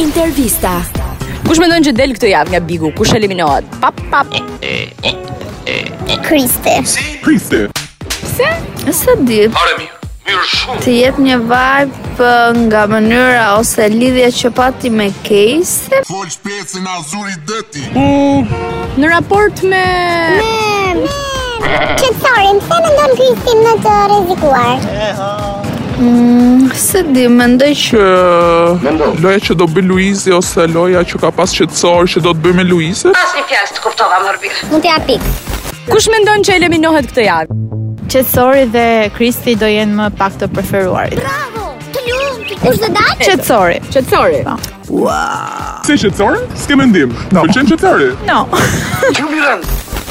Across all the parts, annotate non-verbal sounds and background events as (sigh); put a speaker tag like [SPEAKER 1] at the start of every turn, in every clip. [SPEAKER 1] Intervista.
[SPEAKER 2] Kush mendon që del këtë javë nga Bigu? Kush eliminohet? Pap pap.
[SPEAKER 3] Kriste.
[SPEAKER 2] Pse?
[SPEAKER 4] Sa di,
[SPEAKER 5] Pare mirë, mirë shumë.
[SPEAKER 4] të jetë një vibe ë, nga mënyra ose lidhja që pati me Case.
[SPEAKER 6] Fol shpecin a zuri dëti
[SPEAKER 2] Në raport me
[SPEAKER 3] Qetësorin, pse mendon Kristin në të rrezikuar?
[SPEAKER 4] Sa di, mendoj që
[SPEAKER 7] Loja që do bëj Luizi ose loja që ka pas qetësor që do të bëj me Luizi?
[SPEAKER 3] Mund t'ja pik.
[SPEAKER 2] kush mendon që eliminohet këtë javë?
[SPEAKER 8] Qetsori dhe Kristi do jenë më pak të preferuarit.
[SPEAKER 3] Bravo! Të lumtë. Kush do dal?
[SPEAKER 8] Qetsori.
[SPEAKER 2] Qetësori.
[SPEAKER 7] Si qetësor? S'ke mendim. No. Pëlqen qetësori?
[SPEAKER 8] No.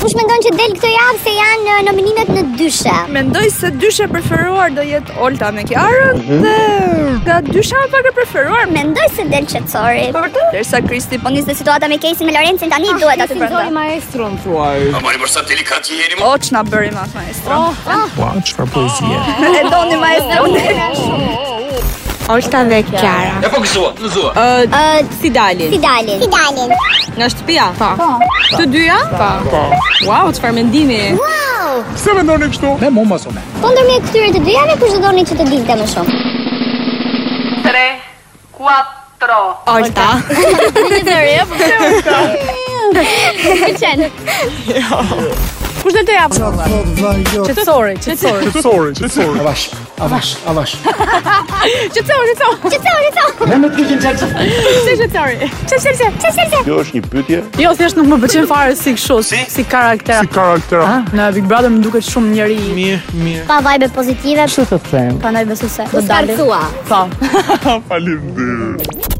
[SPEAKER 3] Kush mendon që del këtë javë se janë eh, nominimet në dyshe?
[SPEAKER 4] Mendoj se dyshe preferuar do jetë Olta me Kiarën dhe nga dysha më pak e preferuar
[SPEAKER 3] Mendoj se del qetësori. Po vërtet?
[SPEAKER 4] derisa Kristi
[SPEAKER 3] Po nisë situata me Casey me Lorencin tani duhet aty brenda.
[SPEAKER 1] maestron
[SPEAKER 5] A mari mërë sa delikat jeni më.
[SPEAKER 4] Oç na bëri më atë maestro.
[SPEAKER 7] Ua, çfarë poezie.
[SPEAKER 4] e doni maestro.
[SPEAKER 8] Olta dhe Kiara.
[SPEAKER 5] E po gëzua, gëzua.
[SPEAKER 2] Ë
[SPEAKER 3] Ë,
[SPEAKER 2] si dalin?
[SPEAKER 3] Uh, si dalin? Si dalin?
[SPEAKER 2] Nga shtëpia? Po. Të dyja? Po. Wow, çfarë mendimi?
[SPEAKER 3] Wow!
[SPEAKER 7] Pse mendoni kështu? Ne mua mos unë.
[SPEAKER 3] Po ndërmjet këtyre të dyjave kush do doni që të dilte më shumë?
[SPEAKER 8] Olta.
[SPEAKER 2] Kush del këtë javë? Qetësori, qetësori.
[SPEAKER 7] Qetësori, qetësori.
[SPEAKER 9] Avash, avash, avash.
[SPEAKER 2] Qetësori, qetësori.
[SPEAKER 3] (laughs) Qetësori, qetësori.
[SPEAKER 2] Pse qetësori?
[SPEAKER 3] Qetësori, qetësori.
[SPEAKER 6] Kjo është një pytje
[SPEAKER 8] Jo, thjesht nuk më pëlqen fare si kështu, si, si karakter.
[SPEAKER 7] Si karakter.
[SPEAKER 8] Në Big Brother më duket shumë njëri
[SPEAKER 7] Mirë, mirë.
[SPEAKER 3] Pa vibe pozitive. Çu të them? Prandaj besoj se do dalin.
[SPEAKER 7] Faleminderit.